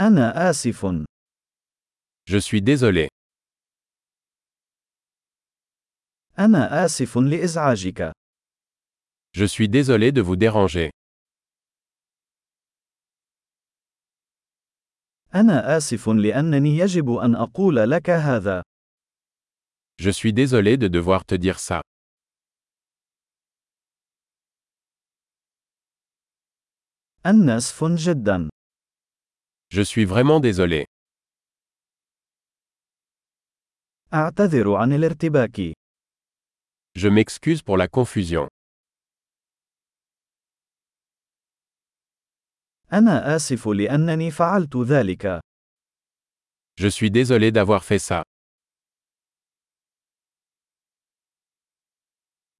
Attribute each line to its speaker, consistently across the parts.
Speaker 1: أنا آسف.
Speaker 2: Je suis désolé.
Speaker 1: أنا آسف لإزعاجك.
Speaker 2: Je suis désolé de vous déranger.
Speaker 1: أنا آسف لأنني يجب أن أقول لك هذا.
Speaker 2: Je suis désolé de devoir te dire ça.
Speaker 1: أنا آسف جدا.
Speaker 2: Je suis vraiment désolé.
Speaker 1: أعتذر عن الارتباك.
Speaker 2: Je m'excuse pour la confusion.
Speaker 1: أنا آسف لأنني فعلت ذلك.
Speaker 2: Je suis désolé d'avoir fait ça.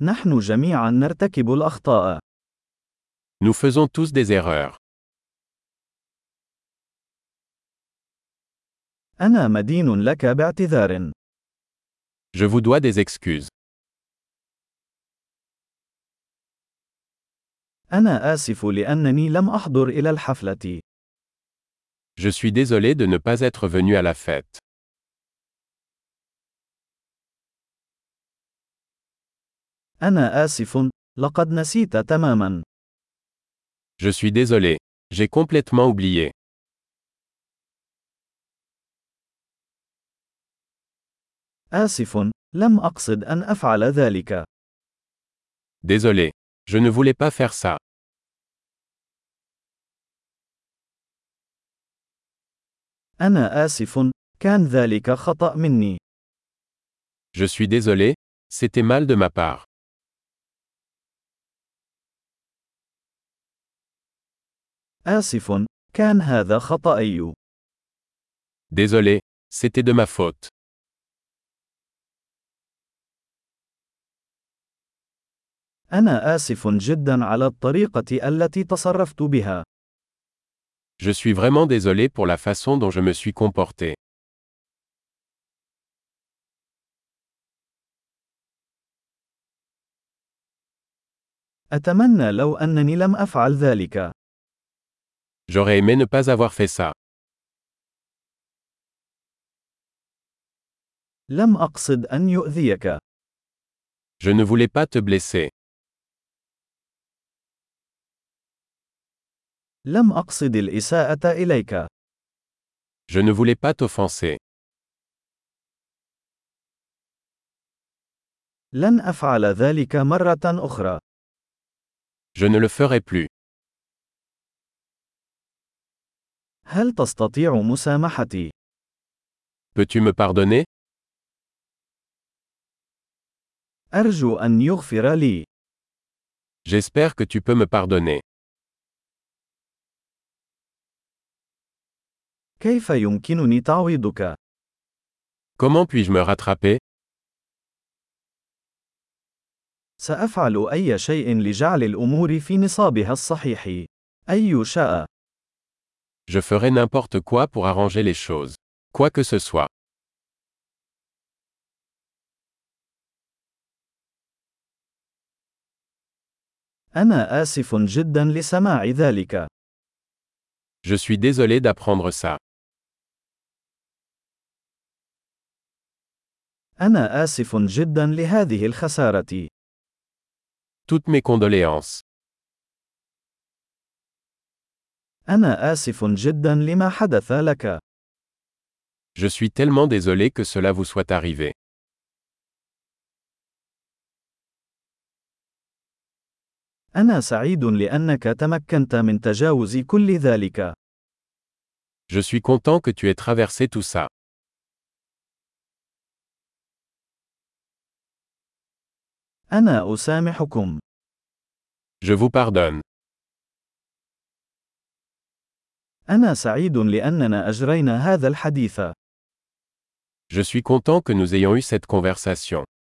Speaker 1: نحن جميعا نرتكب الأخطاء.
Speaker 2: Nous faisons tous des erreurs.
Speaker 1: أنا مدين لك باعتذار.
Speaker 2: Je vous dois des excuses.
Speaker 1: أنا آسف لأنني لم أحضر إلى الحفلة.
Speaker 2: Je suis désolé de ne pas être venu à la fête.
Speaker 1: أنا آسف. لقد نسيت تماما.
Speaker 2: Je suis désolé. J'ai complètement oublié.
Speaker 1: آسف. لم أقصد أن أفعل ذلك.
Speaker 2: Désolé. Je ne voulais pas faire ça.
Speaker 1: أنا آسف. كان ذلك خطأ مني.
Speaker 2: Je suis désolé. C'était mal de ma part.
Speaker 1: آسف. كان هذا خطأي.
Speaker 2: Désolé. C'était de ma faute.
Speaker 1: أنا آسف جدا على الطريقة التي تصرفت بها.
Speaker 2: Je suis vraiment désolé pour la façon dont je me suis comporté.
Speaker 1: أتمنى لو أنني لم أفعل ذلك.
Speaker 2: J'aurais aimé ne pas avoir fait ça.
Speaker 1: لم أقصد أن يؤذيك.
Speaker 2: Je ne voulais pas te blesser.
Speaker 1: لم أقصد الإساءة إليك.
Speaker 2: Je ne voulais pas t'offenser.
Speaker 1: لن أفعل ذلك مرة أخرى.
Speaker 2: Je ne le ferai plus.
Speaker 1: هل تستطيع مسامحتي؟
Speaker 2: Peux-tu me pardonner
Speaker 1: أرجو أن يغفر لي.
Speaker 2: J'espère que tu peux me pardonner.
Speaker 1: كيف يمكنني تعويضك؟
Speaker 2: Comment puis-je me rattraper
Speaker 1: سأفعل أي شيء لجعل الأمور في نصابها الصحيح. أي شاء.
Speaker 2: Je ferai n'importe quoi pour arranger les choses. Quoi que ce soit.
Speaker 1: أنا آسف جدا لسماع ذلك.
Speaker 2: Je suis désolé d'apprendre ça.
Speaker 1: أنا آسف جدا لهذه الخسارة.
Speaker 2: Toutes mes condoléances.
Speaker 1: أنا آسف جدا لما حدث لك.
Speaker 2: Je suis tellement désolé que cela vous soit arrivé.
Speaker 1: أنا سعيد لأنك تمكنت من تجاوز كل ذلك.
Speaker 2: Je suis content que tu aies traversé tout ça.
Speaker 1: أنا أسامحكم.
Speaker 2: Je vous pardonne.
Speaker 1: أنا سعيد لأننا أجرينا هذا الحديث.
Speaker 2: Je suis content que nous ayons eu cette conversation.